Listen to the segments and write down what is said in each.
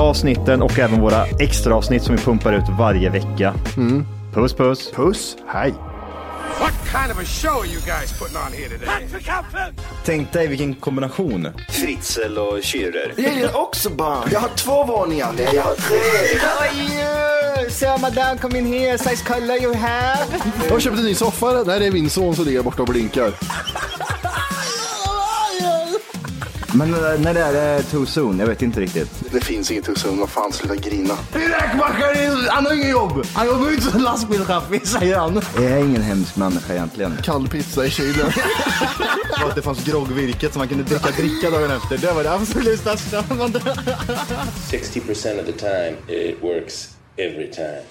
avsnitten och även våra extra avsnitt som vi pumpar ut varje vecka. Mm. Puss puss! Puss, hej. What kind of a show are you guys putting on here today? Tänk dig vilken kombination. Fritzl och Schürrer. Jag gillar också barn. Jag har två våningar. Nej, jag har tre. So madame, come in here, size color you have. Jag har köpt en ny soffa. eller? Nej, det är min son som ligger borta och blinkar. Men eh, när det är det too soon? Jag vet inte riktigt. Det finns inget hus vad fan, sluta grina. Räkmackaren, han har inget jobb. Han jobbar ut som lastbilschaffis, säger han. Jag är ingen hemsk människa egentligen. Kall pizza i kylen. Och att det fanns groggvirket som man kunde dricka dricka dagen efter. Det var det absolut största. Alltså, 60% of the time, it works every time.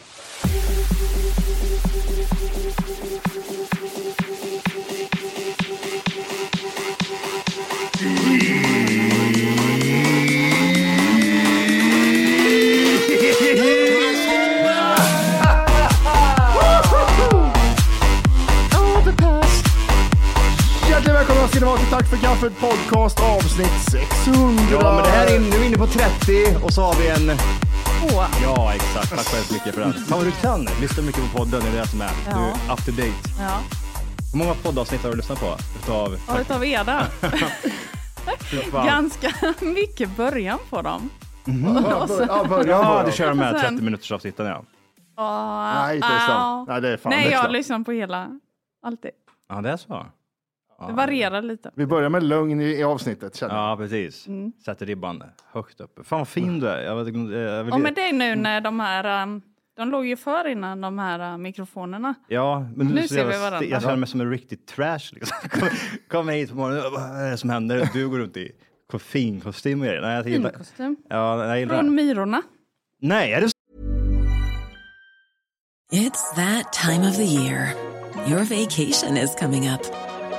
Hjärtligt välkomna ska ni vara till Tack för kaffet podcast avsnitt 600. Ja, men det här är, nu är vi inne på 30 och så har vi en... Åh, Ja, exakt. Tack så hemskt mycket för den. Fan vad du kan. Lyssna mycket på podden. Det är det som är. Ja. Du är up to date. ja. Hur många poddavsnitt har du lyssnat på? Utav... Och utav er där. Ganska mycket början på dem. Ja, bör, ja, börja Ja, bara. du kör de här Och sen- 30 minuters avsnitten ja. Åh, Nej, inte ens au. den. Nej, det är fan Nej, nästa. jag lyssnar på hela. Alltid. Ja, det är så. Det varierar lite. Vi börjar med lögn i, i avsnittet. Känner. jag. Ja, precis. Mm. Sätter ribban högt uppe. Fan vad fin du är. Jag vet, inte- jag vill... Och med det nu när de här, um, de låg ju för innan de här uh, mikrofonerna. Ja, men Nu är så ser vi jävla sti- varandra. Jag känner mig som en riktig trash. Liksom. Kom, kom hit på morgonen, vad är det som händer? Du går runt i ko- fin kostym och grejer. Nej, jag gillar... Filmkostym. Ja, nej, jag gillar... Från Myrorna. Nej, är det It's that time of the year. Your vacation is coming up.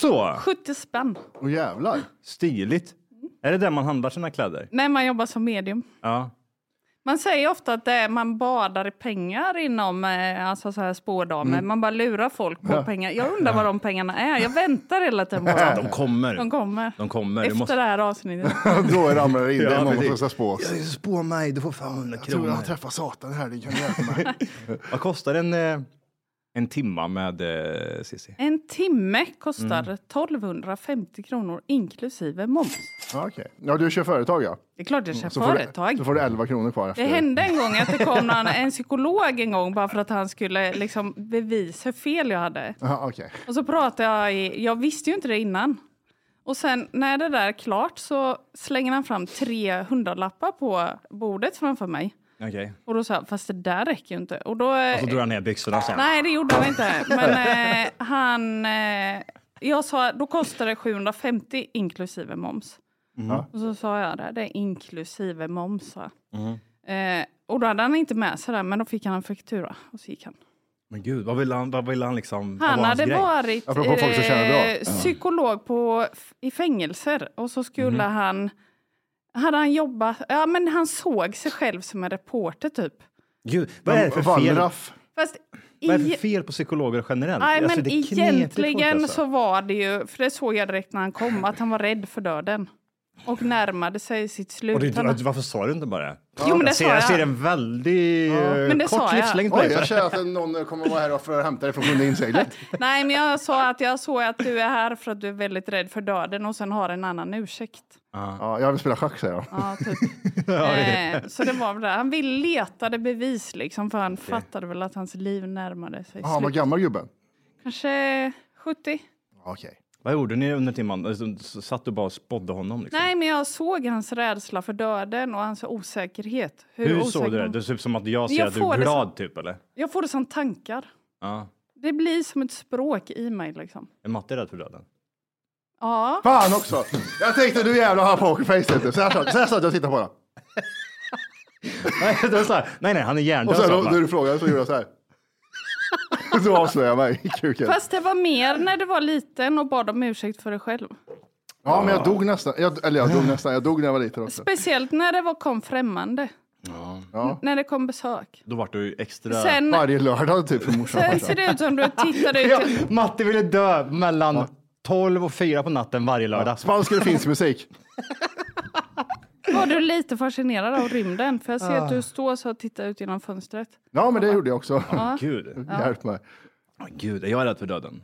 så? 70 spänn. Åh jävlar. Stiligt. Är det där man handlar sina kläder? När man jobbar som medium. Ja. Man säger ofta att det är, man badar i pengar inom eh, alltså så här spådamer. Mm. Man bara lurar folk på pengar. Jag undrar vad de pengarna är. Jag väntar hela tiden på De dem. kommer. De kommer. De kommer. Du Efter måste- det här avsnittet. Då ramlar det in. Det Ja, är någon precis. som ska spå. Jag Spå mig, du får fan 100 tror jag har träffat Satan här. Det kan hjälpa mig. Vad kostar en, eh, en timma med eh, Cissi? En timme kostar Mm. 1250 kronor inklusive moms. Ja, okej. Ja, du kör företag ja. Det är klart jag kör Mm, Så får företag. Du, så får du 11 kronor kvar efter. Det hände en gång att det kom någon, en psykolog en gång bara för att han skulle liksom bevisa hur fel jag hade. Ja, okej. Och så pratade jag i, jag visste ju inte det innan. Och sen när det där är klart så slänger han fram tre hundralappar på bordet framför mig. Okej. Och då sa jag, fast det där räcker ju inte. Och då... Och Alltså, så drar han ner byxorna sen. Nej, det gjorde han inte. Men eh, han... Eh, jag sa, då kostade det 750 inklusive moms. Mm. Och så sa jag det, det är inklusive Mm. moms. sa jag. Eh, och då hade han inte med sig det, men då fick han en faktura och så gick han. Men gud, vad vill han, vad vill han liksom? vad Han var hans hade grej? varit Apropå folk som tjänar bra. eh, psykolog på, f- i fängelser och så skulle Mhm. han... Hade han jobbat... Ja, men han såg sig själv som en reporter, typ. Gud, vad är det för fel? Wallraff. Fast Vad är det i- för fel på psykologer generellt? Nej, Alltså, men det är knepigt folk, egentligen alltså. så var det ju, för det såg jag direkt när han kom, att han var rädd för döden. Och närmade sig sitt slut. Och det, alltså, Han- varför sa du inte bara? Jo, men det jag, ser, sa jag jag. ser en väldigt eh, Men det sa kort jag. livslängd på Oj, dig. jag känner att någon kommer vara här och för- hämta dig från sjunde inseglet. Nej, men jag sa att jag såg att du är här för att du är väldigt rädd för döden och sen har en annan ursäkt. Ja, jag vill spela schack säger jag. Ja, typ. eh, så det var väl det. Han vill letade bevis liksom, för han fattade väl att hans liv närmade sig Ah, han var slut. gammal gubben. Kanske 70? Okej. Vad gjorde ni under timman? Alltså, s- Satt du bara och spådde honom? Liksom? Nej, men jag såg hans rädsla för döden och hans osäkerhet. Hur osäker såg du det? han- Det ser ut som att jag ser Jag att du får är det glad typ eller? Jag får det som tankar. Ja. Det blir som ett språk i mig liksom. Är Matte rädd för döden? Ja, Fan också! Jag tänkte du jävlar har pokerface vet du. Så här satt- så här satt jag och tittade på den. nej, det var så här, nej, nej, han är Och hjärndöd. sen sa då, han bara. när du frågade så gjorde jag så här. Så avslöjade jag mig i kuken. fast det var mer när du var liten och bad om ursäkt för dig själv. Ja, men jag dog nästan. Jag, eller jag dog nästan. Jag dog när jag var liten också. Speciellt när det var, kom främmande, Ja. när det kom besök. Då vart du ju extra... Sen, Varje lördag typ för morsan. och farsan. sen ser det ut som du tittade ut. Ja, Matte ville dö mellan 12 och 4 på natten varje lördag. Spansk eller finsk musik? Var du lite fascinerad av rymden? För jag ser att du står så och tittar ut genom fönstret. Ja, men det gjorde jag också. Gud. Hjälp mig. Åh, Gud, är jag rädd för döden?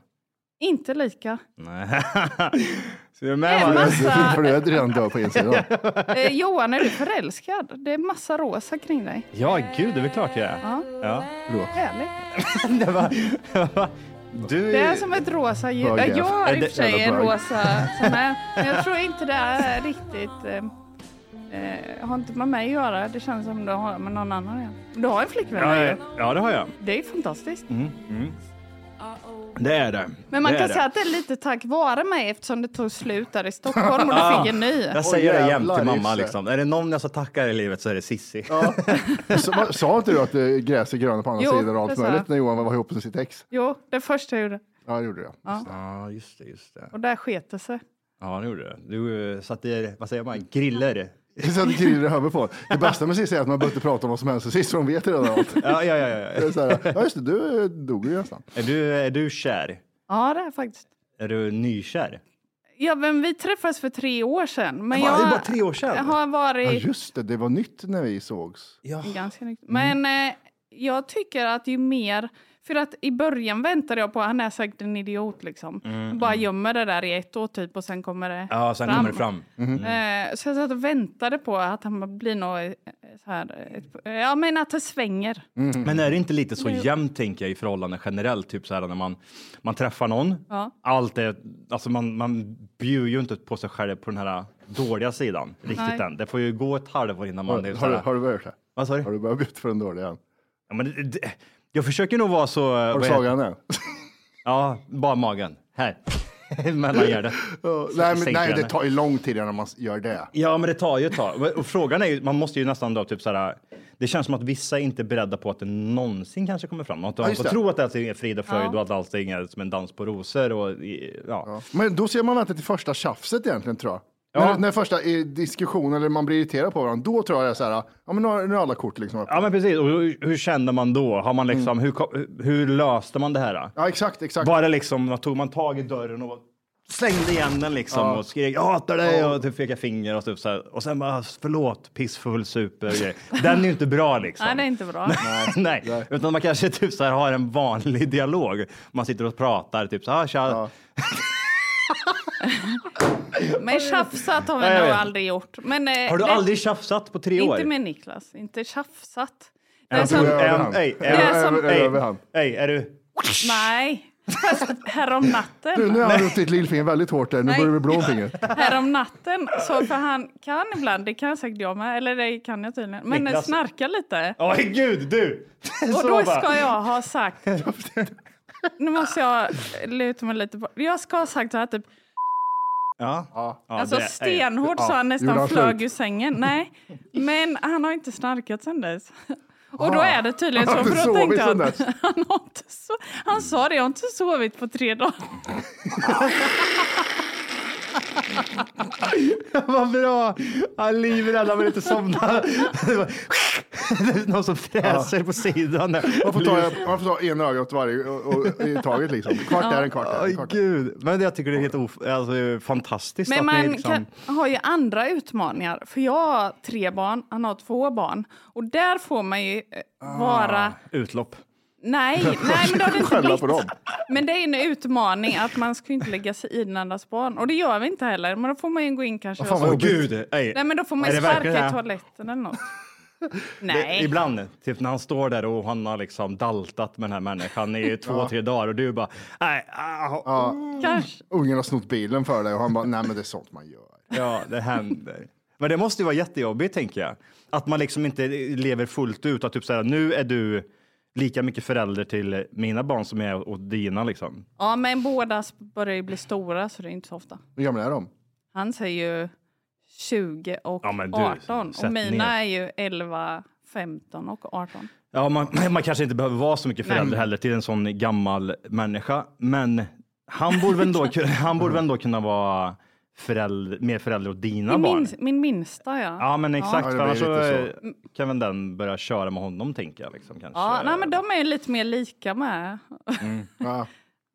Inte lika. Nej. Ser du med? En Matte? massa, För du är redan död på insidan. eh, Johan, är du förälskad? Det är massa rosa kring dig. Ja, gud, det är väl klart jag är. Ja. Ja. Härligt. Det var, det var, du, Det är som ett rosa ljus. Bög, Ja, Jag har i och Eller- för sig en eller bög. rosa som är, men jag tror inte det är riktigt. eh, Eh, har inte med mig att göra. Det känns som du har med någon annan. ja. Du har en flickvän. ja, ju. ja, ja, det har jag. Det är fantastiskt. Det är det. Men man det kan är det. säga att det är lite tack vare mig eftersom det tog slut där i Stockholm och du fick en ny. Jag säger det jämt jävlar, till just mamma. det. Liksom. Är det någon jag ska tacka i livet så är det Sissi. Så, vad- sa inte du att eh, gräs är grönare på andra Jo, sidan och det allt sa möjligt jag. när Johan var ihop med sitt ex? Jo, det första jag gjorde. Ja, det gjorde jag. Ja, just det. Just det. Och där sket det sig. Ja, det gjorde det. Du eh, satte, vad säger man, griller. Det satt griller i huvudet på Det bästa med Cissi är att man behöver inte prata om vad som helst för Cissi hon vet redan allt. Ja, ja, ja. ja. Det är så här, ja just det, du eh, dog ju nästan. Är, du, är du kär? Ja, det är faktiskt. Är du nykär? Ja, men vi träffades för tre år sedan. Men Fan, jag det är bara tre år sedan. Jag har Ja varit just det, det var nytt när vi sågs. Mm. ganska nykt- Men eh, jag tycker att ju mer... För att i början väntade jag på han är säkert en idiot liksom. Bara gömmer det där i ett år typ och sen kommer det Mm, Ja, sen kommer det fram. Mm. Eh, så jag satt och väntade på att han blir något eh, så här... Ett, eh, ja, men att det svänger. Men är det inte lite så jämnt tänker jag i förhållanden generellt? Typ så här när man, man träffar någon. Ja. Allt är, alltså man, man bjuder ju inte på sig själv på den här dåliga sidan riktigt Nej. än. Det får ju gå ett halvår innan man... är så Har, du- här- har du börjat det? Vad sa du? Har du börjat bjuda för den dåliga än? Ja, men det, det, jag försöker nog vara så... Har du slagat den än? Ja, bara magen. Här. Mellan hjärtat. Ja, nej, men, sänker nej, det henne. tar ju lång tid innan man gör det. Ja, men det tar ju ett tag. Och frågan är ju, man måste ju nästan då typ så här. Det känns som att vissa inte är beredda på att det någonsin kanske kommer fram. Att man just får det. tro att allting är alltså frid och fröjd Ja. och att allting är som en dans på rosor och i- ja. ja. Men då ser man vänta till första tjafset egentligen tror jag. Ja. När, när första eh, diskussionen eller man blir irriterad på varandra, då tror jag det är så här, ja men nu har nu har alla kort liksom. Ja, men precis. Och hur, hur kände man då? Har man liksom, hur, ko- hur löste man det här? då? exakt, exakt. Bara liksom, man tog man tag i dörren och slängde igen den liksom och skrek jag hatar dig och typ pekade finger och typ så här. Och sen bara förlåt pissfull super. Den är ju inte bra liksom. Nej, det är inte bra. Nej, utan man kanske typ så här har en vanlig dialog. Man sitter och pratar typ så här. Tja. Men tjafsat har vi Ja, jag nog vet. aldrig gjort. Men, eh, Har du det- aldrig tjafsat på tre år? Inte med Niklas, inte tjafsat. Det är Jag tror som, jag- Överhand. Ey, ey, är Över- som- över- ey, överhand. ey, är du? nej, fast härom Du, nu natten, har du ditt lillfinger väldigt hårt där, nu Nej. börjar det bli blå finger. härom natten, så för han kan ibland, det kan säkert jag med, eller det kan jag tydligen, men Niklas- snarka lite. Åh gud, du! Och Så då bara. ska jag ha sagt, nu måste jag luta mig lite bort, jag ska ha sagt så här typ, Ja. Ja, alltså det- ey. stenhårt så han Gjorde nästan han flög slut? ur sängen. Nej, men han har inte snarkat sen dess. Och då är det tydligen så. Han har För inte då sovit tänkte sedan han, dess. han, har inte so- han sa det, jag har inte sovit på tre dagar. Vad bra! Ja, livrädd, han vill inte somna. Det var- Det är Någon som fräser på sidan. där. Man får ta, man får ta en öga åt varje och, och, i taget liksom. Kvart där, en kvart där. En Åh, kvart. gud. Men jag tycker det är helt of- alltså, fantastiskt Men att man ni liksom... kan, har ju andra utmaningar. För jag har tre barn, han har två barn. Och där får man ju eh, Ah. vara... Utlopp. Nej, nej men det har det inte Skälla blivit. på dem. Men det är en utmaning att man ska ju inte lägga sig i den andras barn. Och det gör vi inte heller. Men då får man ju gå in kanske... och- Åh, gud. Nej. Nej men då får man Är ju det verkligen sparka i det? toaletten eller något. Det, Nej. ibland, typ när han står där och han har liksom daltat med den här människan i två, Ja. tre dagar och du bara, nej, ah, Ja. Kanske. Ungen har snott bilen för dig och han bara, nej men det är sånt man gör. ja, det händer. Men det måste ju vara jättejobbigt, tänker jag. Att man liksom inte lever fullt ut, att typ så här, nu är du lika mycket förälder till mina barn som jag är åt dina liksom. Ja men båda börjar ju bli stora så det är inte så ofta. Hur gamla är de? Han säger ju 20 och Ja, men du, 18. Och sätt mina ner. är ju 11, 15 och 18. Ja, man, man kanske inte behöver vara så mycket Nej. förälder heller till en sån gammal människa, men han borde väl ändå, ku- han borde väl ändå kunna vara förälder, mer förälder åt dina Min, barn? minst, min minsta ja. Mm. Ja, men exakt. Ja, det för blir annars så, lite eh, kan väl den börja köra med honom, tänker jag. Liksom, kanske. Ja, nej, men de är ju lite mer lika med. Mm.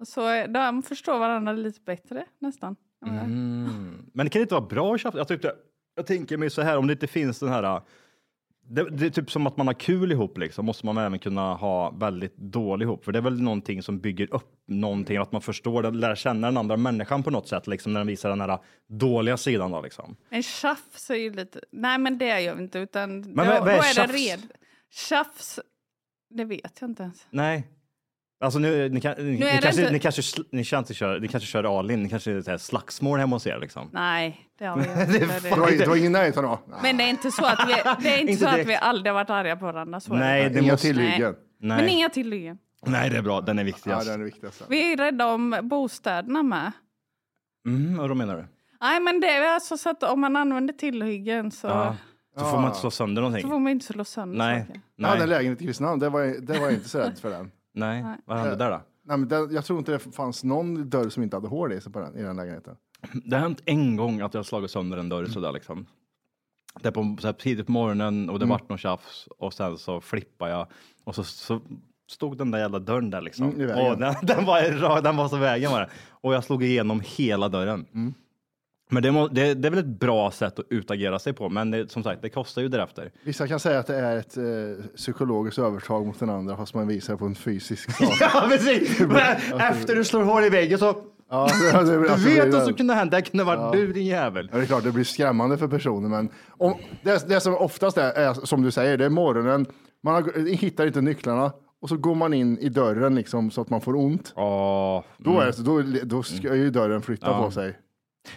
Så de förstår varandra lite bättre nästan. Mm. Men det kan inte vara bra att tjafsa. Jag, tyckte, jag tänker mig så här, om det inte finns den här... Det, det är typ som att man har kul ihop, liksom, måste man även kunna ha väldigt dåligt ihop. För det är väl någonting som bygger upp någonting, att man förstår, den- lär känna den andra människan på något sätt, liksom, när den visar den här dåliga sidan. Då, liksom. Men tjafs är ju lite... Nej, men det gör vi inte. Utan då, vad- vad är då är det tjafs? red. Tjafs, det vet jag inte ens. Nej. Alltså nu, ni, kan, ni, är ni, det kanske, inte- ni kanske sl- ni kanske kör, ni kanske kör all in, ni kanske är så här slagsmål hemma hos er liksom. Nej, det har vi Det inte. är Det var, det var ingen närhet han var. Men det är inte så att vi, det är inte Inte så att direkt. vi aldrig har varit arga på varandra. Så är Nej, inte. det Inga måste... tillhyggen. Nej. Men inga tillhyggen. Nej, det är bra. Den är Ja, viktigast. det är det viktigaste. Vi är rädda om bostäderna med. Mm, och då menar du? Nej, men det är alltså så att om man använder tillhyggen så, Ja. Så får man inte slå sönder så någonting. får man inte slå sönder Nej. saker. Jag hade en Nej. lägenhet i Kristinehamn, det var, jag- det var jag inte så rädd för den. Nej. Vad hände där då? Nej, men den, jag tror inte det fanns någon dörr som inte hade hål i sig på den, i den lägenheten. Det har hänt en gång att jag har slagit sönder en dörr sådär liksom. Det är på, så här, tidigt på morgonen och det vart någon tjafs och sen så flippade jag och så, så stod den där jävla dörren där liksom. Mm, i vägen. och den, den, var, ra- den var så i vägen var det. Och jag slog igenom hela dörren. Men det, må, det, det är väl ett bra sätt att utagera sig på, men det, som sagt, det kostar ju därefter. Vissa kan säga att det är ett eh, psykologiskt övertag mot den andra fast man visar på en fysisk sak. Ja, precis! Men efter du slår hål i väggen så... Ja, det- det- Du alltså, vet det- vad som kunde hända. Det kunde ha varit Ja. du, din jävel. Ja, det är klart, det blir skrämmande för personer, men om, det, det som oftast är, är, som du säger, det är morgonen, man har, hittar inte nycklarna och så går man in i dörren liksom, så att man får ont. Ja. Då, är det, så- då, då ska ju dörren flytta på sig.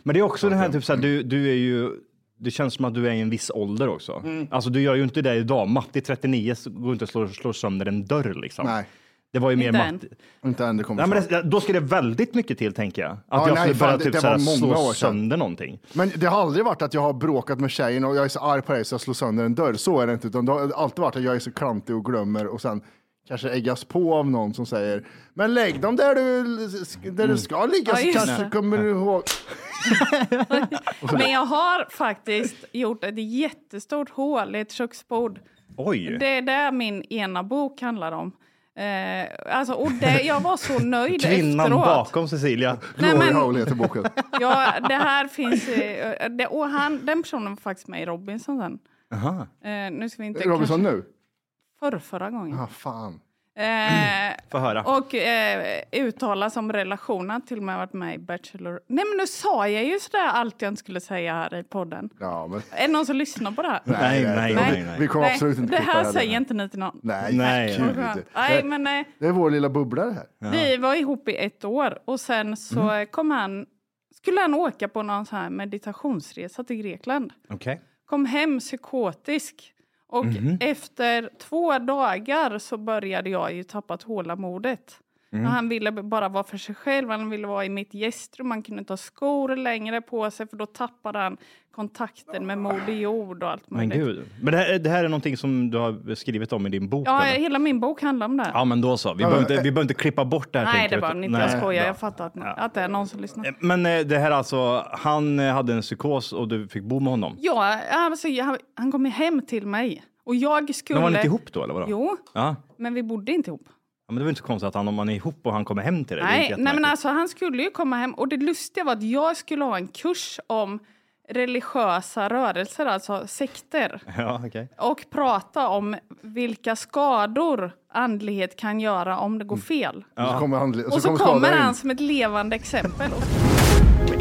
Men det är också den här, typ, så här du, du är ju... Det känns som att du är i en viss ålder också. Alltså, du gör ju inte det idag. Matti 39 så går inte och slår, slår sönder en dörr liksom. Nej, Det var ju mer Inte än. Matti. inte än det kommer Nej, men fram. det, då ska det väldigt mycket till, tänker jag. Att Ja, jag nej, skulle fan, börja det- typ, det så här, var många år slå sedan. sönder någonting. Men det har aldrig varit att jag har bråkat med tjejen och jag är så arg på dig så jag slår sönder en dörr. Så är det inte, utan det har alltid varit att jag är så klantig och glömmer och sen kanske äggas på av någon som säger men lägg dem där du, där du ska ligga Mm. Ja, så just kanske det. kommer du ihåg. Men jag har faktiskt gjort ett jättestort hål i ett köksbord. Oj! Det är det min ena bok handlar om. Eh, alltså, och det, jag var så nöjd Kvinnan efteråt. bakom Cecilia. Nej, Glory men- Hole heter boken. Ja, det här finns... eh, Det, och han, den personen var faktiskt med i Robinson sen. Aha. Eh, nu ska vi inte... Robinson kanske- nu? Förr, förra gången. Ah, fan. Eh, Få höra. och eh, uttala som relationen Han har till och med varit med i Bachelor. Nej men nu sa jag ju sådär allt jag inte skulle säga här i podden. Ja, men... Är det någon som lyssnar på det här? Nej, nej, nej. Vi nej. kommer absolut inte det här klippa säger här. inte ni till någon. Nej, Nej. gud. Skönt. Nej, men nej. Det är vår lilla bubbla det här. Vi var ihop i ett år och sen så Mm. eh, kom han, skulle han åka på någon sån här meditationsresa till Grekland. Okej. Kom hem psykotisk Mhm. och efter två dagar så började jag ju tappa tålamodet. Mm. Och Han ville b- bara vara för sig själv, han ville vara i mitt gästrum. Han kunde inte ha skor längre på sig för då tappade han kontakten med Moder Jord och allt Men möjligt. gud. Men det här, det här är någonting som du har skrivit om i din bok? Ja, eller? hela min bok handlar om det. ja men då så. Vi Ja, behöver men- inte, eh, vi behöver inte klippa bort det här. Nej, tänker det jag, var utan- den inte. Nej. Jag skojar. Jag fattar att, att det är någon som lyssnar. Men eh, det här alltså, han eh, hade en psykos och du fick bo med honom? Ja, alltså, jag, han kom ju hem till mig. Och jag skulle... Men var ni inte ihop då eller vadå? Jo, Ja. men vi bodde inte ihop. Ja, men det var inte så konstigt att han, om man är ihop och han kommer hem till dig. det är Nej, inte nej men jättemärkligt. alltså han skulle ju komma hem och det lustiga var att jag skulle ha en kurs om religiösa rörelser, alltså sekter. Ja, okej. Och prata om vilka skador andlighet kan göra om det Mm. går fel. Och så kommer han, och så Och så kommer skadan kommer in. han som ett levande exempel. Men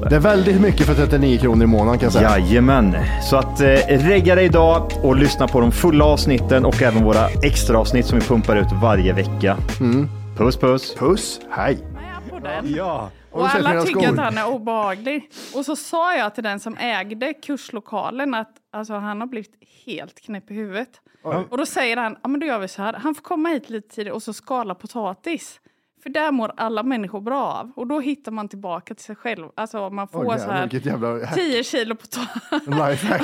det. Det är väldigt mycket för 39 kronor i månaden kan jag säga. Jajamän, så att eh, regga dig idag och lyssna på de fulla avsnitten och även våra extra avsnitt som vi pumpar ut varje vecka. Puss puss! Puss, hej! På den. Ja. Och alla tycker att han är obehaglig. Och så sa jag till den som ägde kurslokalen att alltså, han har blivit helt knäpp i huvudet. Oj. Och då säger han, ja men då gör vi så här, han får komma hit lite tidigare och så skala potatis. För där mår alla människor bra av. Och då hittar man tillbaka till sig själv. Alltså man får Åh, jävlar, så här vilket jävla hack. 10 kilo, pota- Lifehack.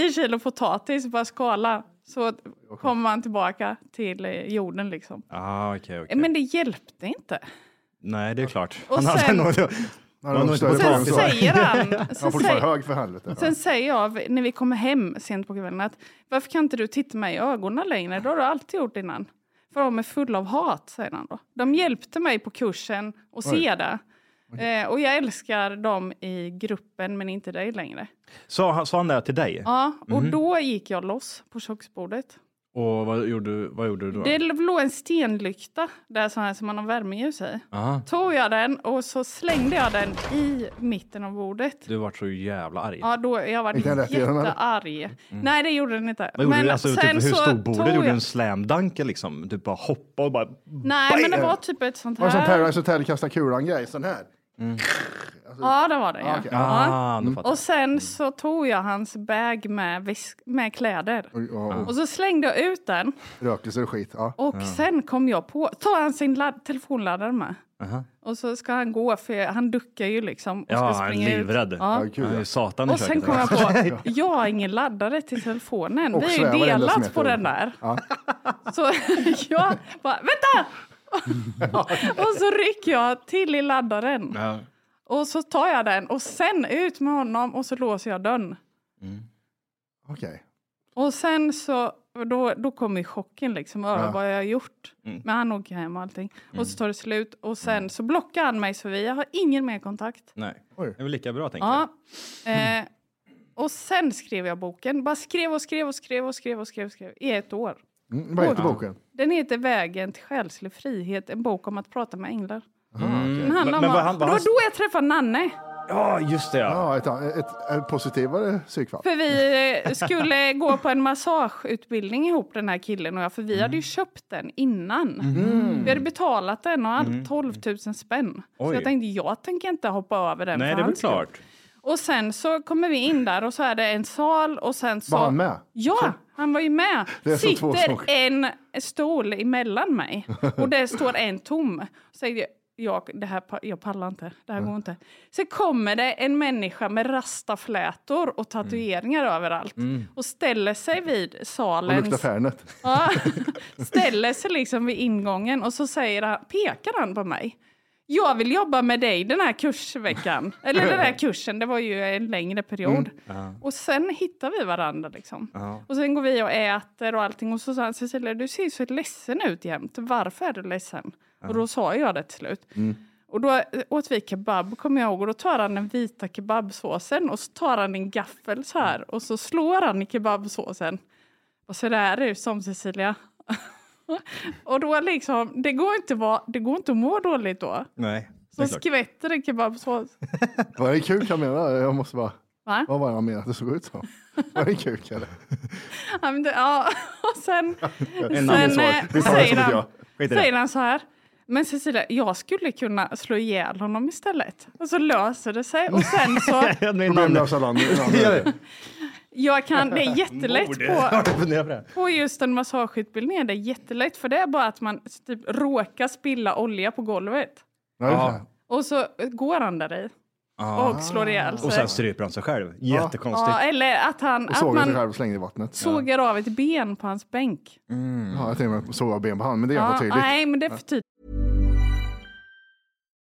10 kilo potatis, bara skala. Så kommer man tillbaka till eh, jorden liksom. Ah, okej, okej. Men det hjälpte inte. Nej, det är klart. Och han hade sen- nog... Han har nog har inte nog större fått- barn Sen säger han... Han är Sen, fortfarande säger, hög för helvete. sen säger jag när vi kommer hem sent på kvällen att varför kan inte du titta mig i ögonen längre? Det har du alltid gjort innan. För de är fulla av hat, säger han då. De hjälpte mig på kursen att se Oj. det. Eh, och jag älskar dem i gruppen men inte dig längre. Sa, han- sa han det till dig? Ja, och Mhm. då gick jag loss på köksbordet. Och vad gjorde, vad gjorde du då? Det låg en stenlykta där så här som man har värmeljus i. Aha. Tog jag den och så slängde jag den i mitten av bordet. Du vart så jävla arg. Ja, då, jag var Gick den rätt igenom, eller? jättearg. Nej, det gjorde den inte. Mm. Vad gjorde du? Alltså, typ, hur stod tog bordet? Gjorde du jag- en slamdanker liksom? Du bara hoppade och bara... Nej, men det var typ ett sånt Var det som här. Paradise Hotel kasta kulan-grej? Sån här? Ja, det var det. Ja. okej. Mm. Ja. Ah, nu fattar jag. Och sen så tog jag hans bag med, väsk- med kläder. Oj, ja, och Och så slängde jag ut den Rökelser och skit. Ja. och sen kom jag på, tar han sin ladd- telefonladdare med. Aha. Och så ska han gå, för han duckar ju liksom. Och Ja, ska han är springa ut. livrädd. Ja. kul, Han är ja. satan i Och sen köket. kom jag på, jag har ingen laddare till telefonen. typ Och Vi svävar har i ju en delat decimeter. på den där. Ja. Så jag bara, vänta! och så rycker jag till i laddaren. Ja. Och så tar jag den och sen ut med honom och så låser jag dörren. Okej. Och sen så, då, då kommer ju chocken liksom över Ja. vad jag har gjort. Men han åker hem och allting. Och så tar det slut och sen så blockar han mig så vi har ingen mer kontakt. Nej, Oj. det är väl lika bra tänker jag. Ja. Eh, och sen skrev jag boken. Bara skrev och skrev och skrev och skrev och skrev, och skrev i ett år. Mm, vad heter Oj. boken? Den heter Vägen till själslig frihet, en bok om att prata med änglar. Mm. Den handlar om vad att- han- Det vad var han- då jag träffade Nanne. Ja, just det ja. Ja, ett, ett, ett, positivare psykfall. För vi eh, skulle gå på en massageutbildning ihop den här killen och jag. För vi hade Mm. ju köpt den innan. Vi hade betalat den och hade 12 000 spänn. Så Mm. Oj. jag tänkte, jag tänker inte hoppa över den. typ. Nej, för det är väl hans skull. klart. Och sen så kommer vi in där och så är det en sal och sen så... Var han med? Ja, han var ju med. Det är som två Sitter saker. en stol emellan mig och det står en tom. Säger jag, jag, det här, pa- jag pallar inte, det här går inte. Sen kommer det en människa med rastaflätor och Mm. tatueringar överallt och ställer sig vid Och luktar salens... Fernet. Ja, ställer sig liksom vid ingången och så säger han, pekar han på mig. Jag vill jobba med dig den här kursveckan. Eller den här kursen, det var ju en längre period. Och sen hittar vi varandra liksom. Och sen går vi och äter och allting. Och så sa han, Cecilia du ser så ledsen ut jämt. Varför är du ledsen? Och då sa jag det till slut. Och då eh, åt vi kebab kommer jag ihåg. Och då tar han den vita kebabsåsen och så tar han en gaffel så här. Och så slår han i kebabsåsen. Och så där är du som Cecilia. Och då liksom, det går inte, att vara, det går inte att må dåligt då. Nej. Så skvätter det kebabsås. Var det kuk han menade? Jag måste bara... Va? Vad var det han menade att det såg ut som? Var det kuk eller? Ja, men det- ja, och sen, En sen annan eh, svar. Vi tar det säger, som ett han, ja. Skit i det. säger han så här. Men Cecilia, jag skulle kunna slå ihjäl honom istället. Och så löser det sig. Och sen så, Problemlösa landet. Ja, jag kan, det är jättelätt på, Fundera på det. på just en massageutbildning. Det är jättelätt, för det är bara att man typ råkar spilla olja på golvet. Ja. Och så går han där i. Och slår ihjäl sig. Och sen stryper han sig själv. Jättekonstigt. Ja, eller att, han, Och att sågade sig man själv och slängde i vattnet. sågar av ett ben på hans bänk. Ja, jag tänkte att såga ben på hand, men det är Ja, ganska tydligt. nej, men det är typ för tydligt.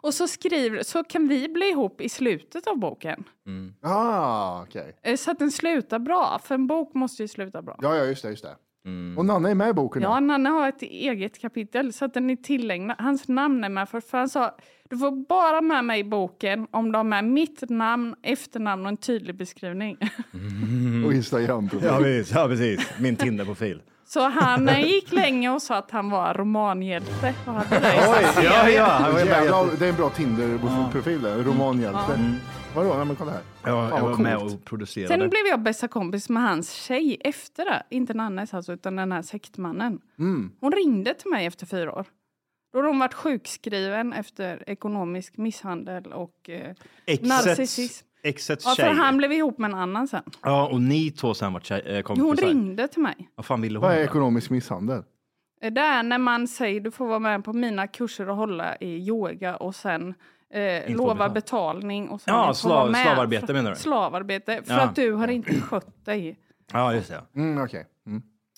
Och så skriver, så kan vi bli ihop i slutet av boken. Ah, okej. Eh, Så att den slutar bra, för en bok måste ju sluta bra. Ja, ja, just det, just det. Mm. Och Nanna är med i boken Ja, nu. Nanne har ett eget kapitel så att den är tillägnad. Hans namn är med först. För han sa, du får bara med mig i boken om du har med mitt namn, efternamn och en tydlig beskrivning. Och Instagram. Mm. Ja, precis. Ja, precis. Min Tinder-profil. Så han eh, gick länge och sa att han var romanhjälte. Och hade det i sin Oj, serie. Det var jävla- det är en bra Tinder-profil, det. romanhjälte. Vadå, nej men kolla här. Mm. Ja, Fan, jag vad var med coolt. och producerade. Sen blev jag bästa kompis med hans tjej efter det. Inte Nannes alltså, utan den här sektmannen. Mm. Hon ringde till mig efter fyra år. Då hade hon varit sjukskriven efter ekonomisk misshandel och eh, Exets, narcissism. exets Ja, för tjej. han blev ihop med en annan sen. Ja, och ni två sen vart tjej, eh, kompisar. Hon ringde till mig. Vad fan ville hon? Vad är då? ekonomisk misshandel? Det är Eh, när man säger du får vara med på mina kurser och hålla i yoga och sen eh, få lova betalt. betalning. Och sen Ja, får slav- vara med slavarbete för- menar du? Slavarbete, för Ja. att du har inte skött dig. Ja, just det. Mm, okej.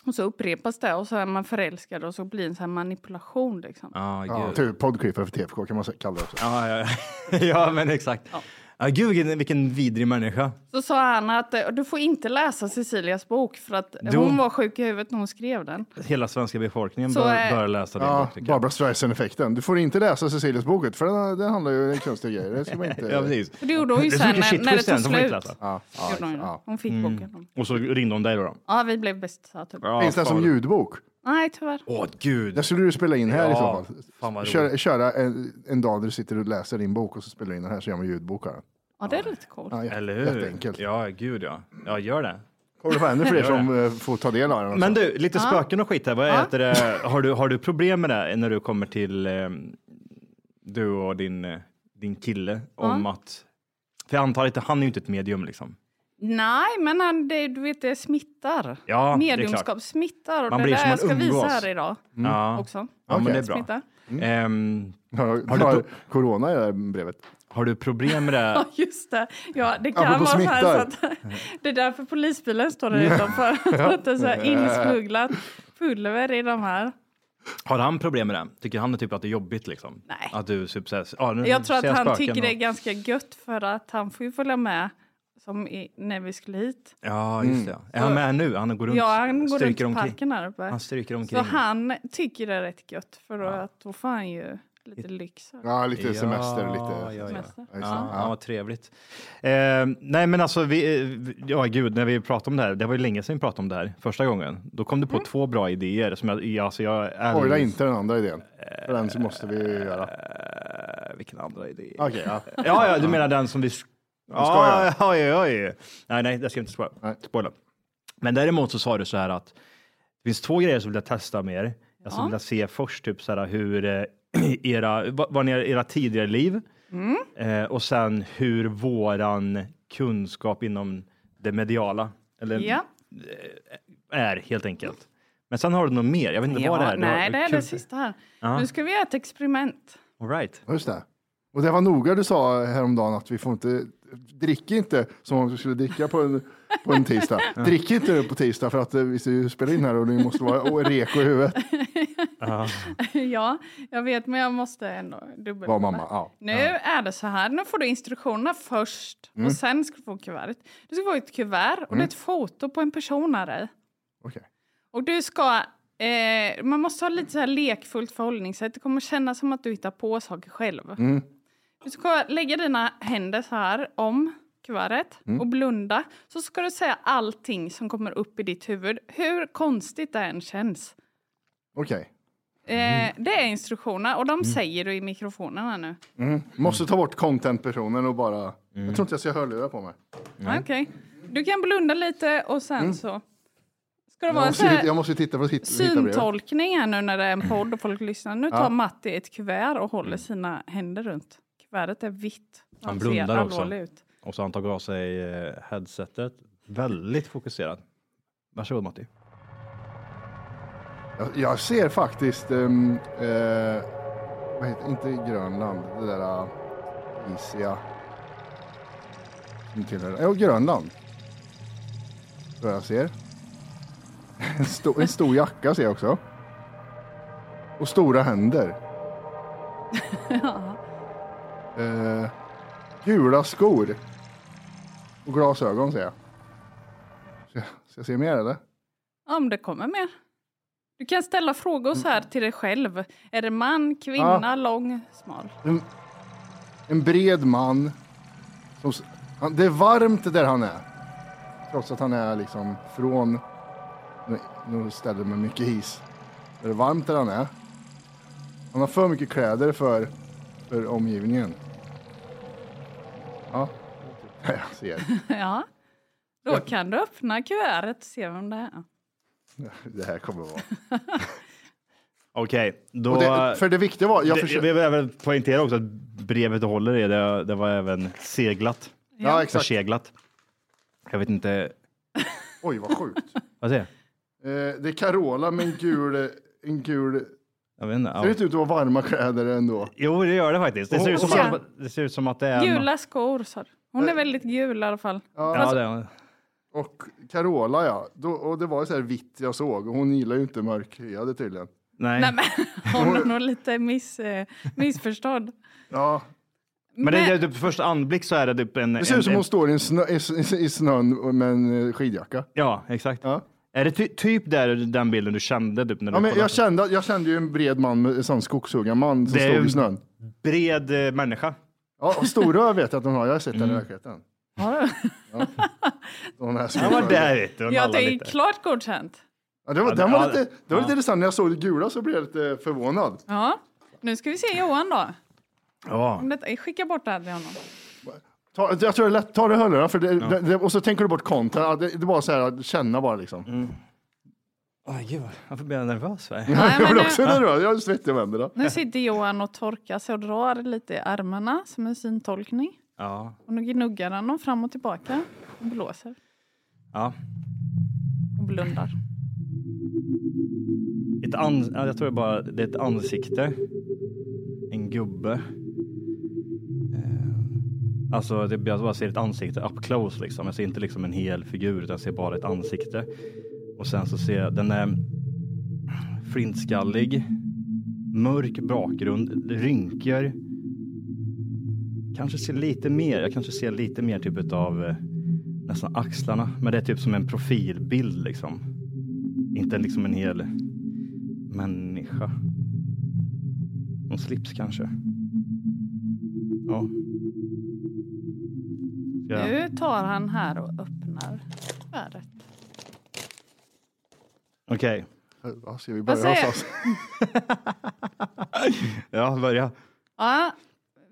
Och så upprepas det och så är man förälskad och så blir det en sån här manipulation. Liksom. ja, typ poddcreeper för TFK kan man se- kalla det också. Ja, ja, ja. ja men exakt. Ja. gud, vilken, vilken vidrig människa. Så sa han att eh, du får inte läsa Cecilias bok för att eh, Då- hon var sjuk i huvudet när hon skrev den. Hela svenska befolkningen Så, bör, eh, bör läsa din Ja, bok. tycker jag. Barbara Streisand-effekten. Du får inte läsa Cecilias bok, för den, den handlar ju om konstiga grejer. Det ska man inte... Ja, precis. För det gjorde hon ju Det är så sen mycket när, shit när det twist tog sen som man inte slut. läser. Ja, ja, Gjorde hon, ju. ja. hon fick Mm. boken. Och så ringde hon dig då? då. Ja, vi blev bästisar typ. Ja, Finns den som fan. ljudbok? Nej, tyvärr. Åh gud. Det skulle du spela in här i så Ja, fall. fan vad Kör, roligt. köra en, en dag där du sitter och läser din bok och så spelar du in den här så gör man ljudbok av den. Ja, det är lite coolt. Ja, Eller hur? Jätteenkelt. Alltså. Ja, gud ja. Ja, gör det. Kommer det vara ännu fler Gör det. som eh, får ta del av den? också? Men du, lite Ja. spöken och skit här. Vad Ja. heter det? Har, du, har du problem med det när du kommer till eh, du och din, eh, din kille om att... För jag antar att han är ju inte ett medium liksom. Nej, men han, det, du vet, det smittar. Ja, det är Mediumskap klart. smittar. Och Man det blir är det som jag ska man umgås. visa här idag Mm. Ja. också. Ja, men det är bra. Smittar. Mm. Ehm, har, du, corona i det här brevet. Har du problem med Ja, det? just det. Ja, det kan Apropå vara så här. Så smittar. att, det är därför polisbilen står där utanför. För att det är så här insmugglat pulver i de Mm, här. Har han problem med det? Tycker han typ att det är jobbigt liksom? Nej. Att du typ såhär, ah, nu Jag tror ser att han spöken tycker det är och- ganska gött för att han får ju följa med som i, när vi skulle hit. Ja, just det. Är han med nu? Han går runt, Mm. ja, han går runt stryker i omkring. parken här uppe. Han stryker omkring. Så han tycker det är rätt gött för att då får han ju lite lyx. här. Ja, lite semester, lite... Ja, ja, ja. Semester. Ja, ja, vad trevligt. Eh, nej, men alltså, vi, eh, vi- ja gud, när vi pratade om det här, det var ju länge sedan vi pratade om det här första gången. Då kom du Mm. på två bra idéer som jag, ja, alltså jag är... Spoila inte den andra idén. För den så måste vi göra. Eh, Vilken andra idé? Okej, ja. Ja, ja, du menar den som vi... sk- Vi ska göra. Ja, oj, oj. Nej, nej, det ska jag inte spoila. spoila. Men däremot så sa du så här att det finns två grejer som vill jag testa med er. Jag skulle Ja. vilja se först typ så här hur eh, era, vad vad ni, era tidigare liv Mm. eh, och sen hur våran kunskap inom det mediala eller, Ja. är helt enkelt. Men sen har du något mer. Jag vet inte vad det är. Du har- nej, det är kul- det sista här. Ja. Nu ska vi göra ett experiment. All right. Just det. Och det var noga du sa häromdagen att vi får inte, drick inte som om vi skulle dricka på en, på en tisdag. Ja. Drick inte nu på tisdag för att eh, vi ska ju spela in här och ni måste vara och reko i huvudet. ja, jag vet, men jag måste ändå dubbelkolla. Var mamma, ja. Nu är det så här, nu får du instruktionerna först Mm. och sen ska du få kuvertet. Du ska få ett kuvert och det Mm. är ett foto på en person här i. Okej. Och du ska, eh, man måste ha lite så här lekfullt förhållningssätt. Det kommer kännas som att du hittar på saker själv. Mm. Du ska lägga dina händer så här om kuvertet Mm. och blunda. Så ska du säga allting som kommer upp i ditt huvud, hur konstigt det än känns. Okej. Eh, det är instruktionerna och de säger du i mikrofonen här nu. Mm. Måste ta bort content-personen och bara... Jag tror inte jag ska ha hörlurar på mig. Okej. Du kan blunda lite och sen Mm. så ska det Jag vara en måste, sån ju- jag här måste ju titta på hitta, syntolkning här nu när det är en podd och folk lyssnar. Nu tar Ja. Matti ett kuvert och håller sina händer runt. Kuvertet är vitt. Mm. Han blundar också. allvarlig ut. Och så har han tagit av sig eh, headsetet. Väldigt fokuserad. Varsågod Matti. Jag, jag ser faktiskt... ehm, eh, vad heter Inte Grönland. Det där uh, isiga... Som tillhör... Jo, Grönland. Tror jag ser. En, stor- en stor jacka ser jag också. Och stora händer. ja. Eh, gula skor. Och glasögon ser jag. Ska, ska jag se mer eller? Ja, om det kommer mer. Du kan ställa frågor så Mm. här till dig själv. Är det man, kvinna, Ja. lång, smal? En, en bred man. Som, s- han, det är varmt där han är. Trots att han är liksom från nå- något ställe med mycket is. Det är varmt där han är. Han har för mycket kläder för, för omgivningen. Ja, det är typ det jag ser. ja. Då kan du öppna kuvertet och se vem det är. Det här kommer vara... Okej, då... Och det- för det viktiga var- jag det, försö- jag vill även poängtera också att brevet du håller i, det, det var även seglat. Ja, Ja, exakt. Förseglat. Jag vet inte... Oj, vad sjukt. Vad säger jag? Eh, det är Carola med en gul... En gul jag? vet inte. Ser det inte ut att vara varma kläder ändå? Jo, det gör det faktiskt. Det ser, ut som Ja. att, det ser ut som att det är... Gula skor sa du. Hon är väldigt gul i alla fall. Eh. Ja, det är... Och Carola, ja. Då, och det var så här vitt jag såg. Och hon gillar ju inte mörkhyade tydligen. Nej. Nej, men hon är nog lite miss, eh, missförstådd. Ja. Men det, det, på första anblick så är det typ en... Det ser en, ut som en, hon står i, en snö, i, i, i snön med en eh, skidjacka. Ja, exakt. Är det ty, typ där, den bilden du kände typ, när Ja, du men kollade jag, på- kände, jag kände ju en bred man, med- en sån skogshuggarman som Det är stod ju- i snön. Bred eh, människa. Ja, och storröv vet jag att hon har. Jag har sett henne i verkligheten. Hon är Han Mm. var där vet du. och Jag nallade tänkte klart godkänt. Ja, det var, Ja, den ja, var lite, det var ja. lite intressant. När jag såg det gula så blev jag lite förvånad. Ja. Nu ska vi se Johan då. Ja. Om detta- eh, Skicka bort det här till honom. Ta, jag tror det är lätt, ta det i hörlurarna för det, det, det, och så tänker du bort konten. Ja, Det, det var så här, att känna bara liksom. Mm. Åh gud, varför blir jag nervös? va? jag blir också nu- nervös, jag är svettig om händerna. Nu sitter Johan och torkar sig och drar lite i armarna som en syntolkning. Ja. Och nu gnuggar han dem fram och tillbaka. Och blåser ja. och blundar. Ett ans- ja, jag tror det är bara det är ett ansikte. En gubbe. Eh, Alltså det, jag bara ser ett ansikte up close liksom. Jag ser inte liksom en hel figur utan jag ser bara ett ansikte. Och sen så ser jag, den är flintskallig. Mörk bakgrund, rynkor. Kanske ser lite mer, jag kanske ser lite mer typ av nästan axlarna. Men det är typ som en profilbild liksom. Inte liksom en hel människa. Någon slips kanske. Ja. Ska jag- Nu tar han här och öppnar kuvertet. Okej. Ja, ska vi Vad börja säger- någonstans? Ja, börja. Ja,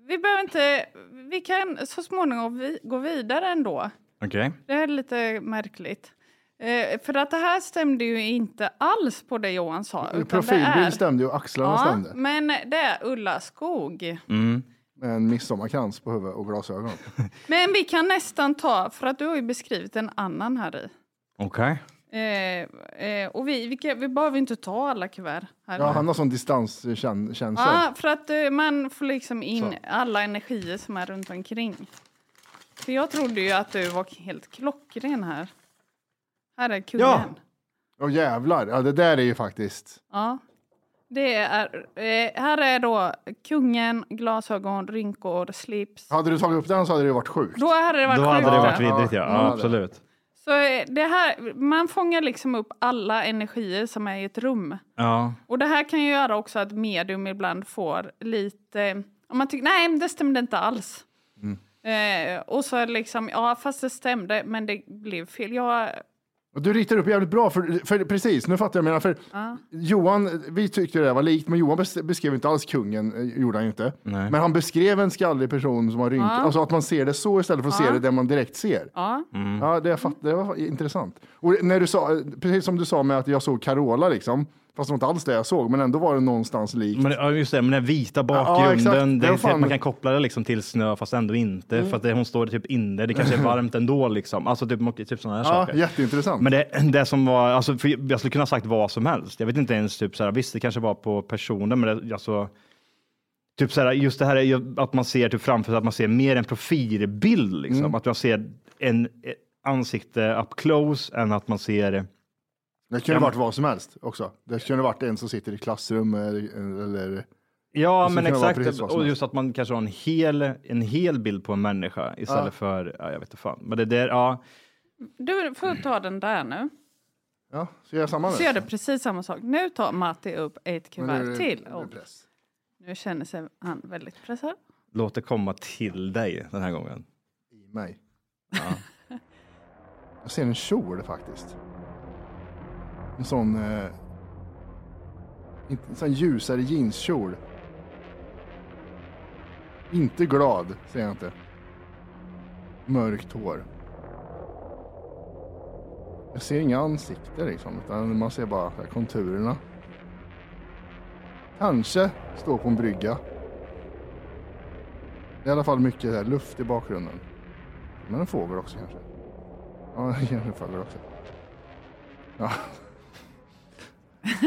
vi behöver inte... Vi kan så småningom vi, gå vidare ändå. Okej. Det är lite märkligt. Eh, för att det här stämde ju inte alls på det Johan sa. utan det är- Profilbild stämde ju och axlarna Ja, stämde. men det är Ulla Skog. Med en midsommarkrans på huvudet och glasögon. Men vi kan nästan ta, för att du har ju beskrivit en annan här i. Okej. Eh, eh, och vi, vi, kan, vi behöver inte ta alla kuvert. Här Ja, nu. han har sån distanskänsla. Ja, för att eh, man får liksom in Så. alla energier som är runt omkring. För jag trodde ju att du var helt klockren här. Här är kungen. Ja. Åh jävlar, ja, det där är ju faktiskt... Det är, eh, här är då kungen, glasögon, rynkor, slips. Hade du tagit upp den så hade det varit sjukt. Då hade det varit Då hade det sjukt. varit vidrigt ja, Ja, ja absolut. Så eh, det här, man fångar liksom upp alla energier som är i ett rum. Ja. Och det här kan ju göra också att medium ibland får lite... eh, Om man tycker nej, men det stämde inte alls. Mm. Eh, och så är det liksom, ja fast det stämde men det blev fel. Jag, Och du ritar upp jävligt bra, för, för precis, nu fattar jag. Menar, för ja. Johan, vi tyckte det var likt, men Johan bes- beskrev inte alls kungen, eh, gjorde han ju inte. Nej. Men han beskrev en skallig person som har rynkor, Ja. alltså att man ser det så istället för att Ja. se det där man direkt ser. ja. Mm. Ja, det, jag fatt, det var intressant. Och när du sa, precis som du sa med att jag såg Carola, liksom, fast det var inte alls det jag såg, men ändå var det någonstans likt. Men, ja, just det, men den vita Ja, bakgrunden. exakt. det Det var är fan- man kan koppla det liksom till snö fast ändå inte. Mm. För att det, hon står typ inne. Det kanske är varmt ändå. Liksom. Alltså typ, typ sådana här ja, saker. jätteintressant. Men det, det som var, alltså, för jag skulle kunna ha sagt vad som helst. Jag vet inte ens, typ så här, visst det kanske var på personen, men det, alltså, typ så här, just det här är ju att man ser typ framför sig, att man ser mer en profilbild, liksom. Mm. att man ser en ett ansikte up close än att man ser... Det kunde varit vad som helst också. Det kunde varit en som sitter i klassrum eh, eller... Ja, Det men kunde vara exakt. precis vad som Och helst. just att man kanske har en hel, en hel bild på en människa istället Ja. för, ja, jag vet inte fan. Men det där, ja. Du får ta den där nu. Ja, så gör jag samma nu. Så gör du precis samma sak. Nu tar Matti upp ett Men nu är kuvert det- till. nu är det Och press. nu känner sig han väldigt pressad. Låt det komma till dig den här gången. I mig. Jag ser en kjol faktiskt. En sån... Eh, inte- en sån ljusare jeanskjol. Inte glad, säger jag inte. Mörkt hår. Jag ser inga ansikten liksom, utan man ser bara så här konturerna. Kanske står på en brygga. Det är i alla fall mycket så här luft i bakgrunden. Men en fågel också kanske. Ja, det är en fågel också. Ja.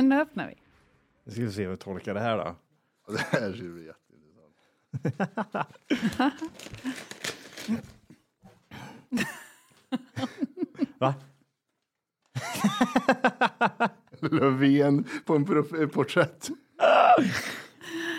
nu öppnar vi. Nu ska vi se hur vi tolkar det här då. Det här ser vi Va? Löfven på en prof- ett porträtt.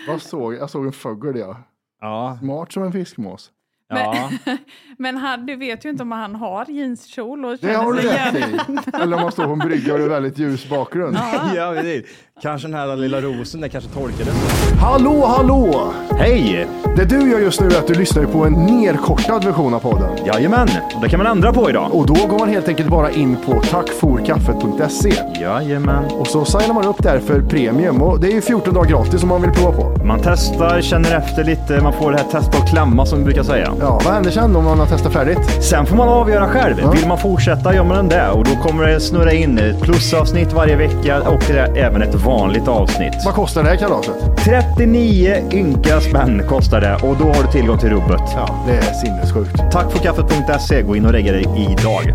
Vad såg jag? Jag såg en fågel, ja. ja. Smart som en fiskmås. Men, men han, du vet ju inte om han har jeanskjol. Och Det känner har du sig rätt jävligt- i. Eller om man står på en brygga och det är väldigt ljus bakgrund. ja, precis. Kanske den här lilla rosen, den kanske tolkades. Hallå, hallå! Hej! Det du gör just nu är att du lyssnar ju på en nerkortad version av podden. Jajamän, det kan man ändra på idag. Och då går man helt enkelt bara in på tackforkaffet.se. Jajamän. Och så signar man upp där för premium. Och det är ju 14 dagar gratis om man vill prova på. Man testar, känner efter lite, man får det här testa och klämma som vi brukar säga. Ja, vad händer sen om man har testat färdigt? Sen får man avgöra själv. Vill man fortsätta gör man det och då kommer det snurra in ett plusavsnitt varje vecka och det är även ett vanligt avsnitt. Vad kostar det här kalaset? 39 ynka spänn kostar det och då har du tillgång till rubbet. Ja, det är sinnessjukt. Tack för kaffet.se. E. Gå in och lägg dig idag.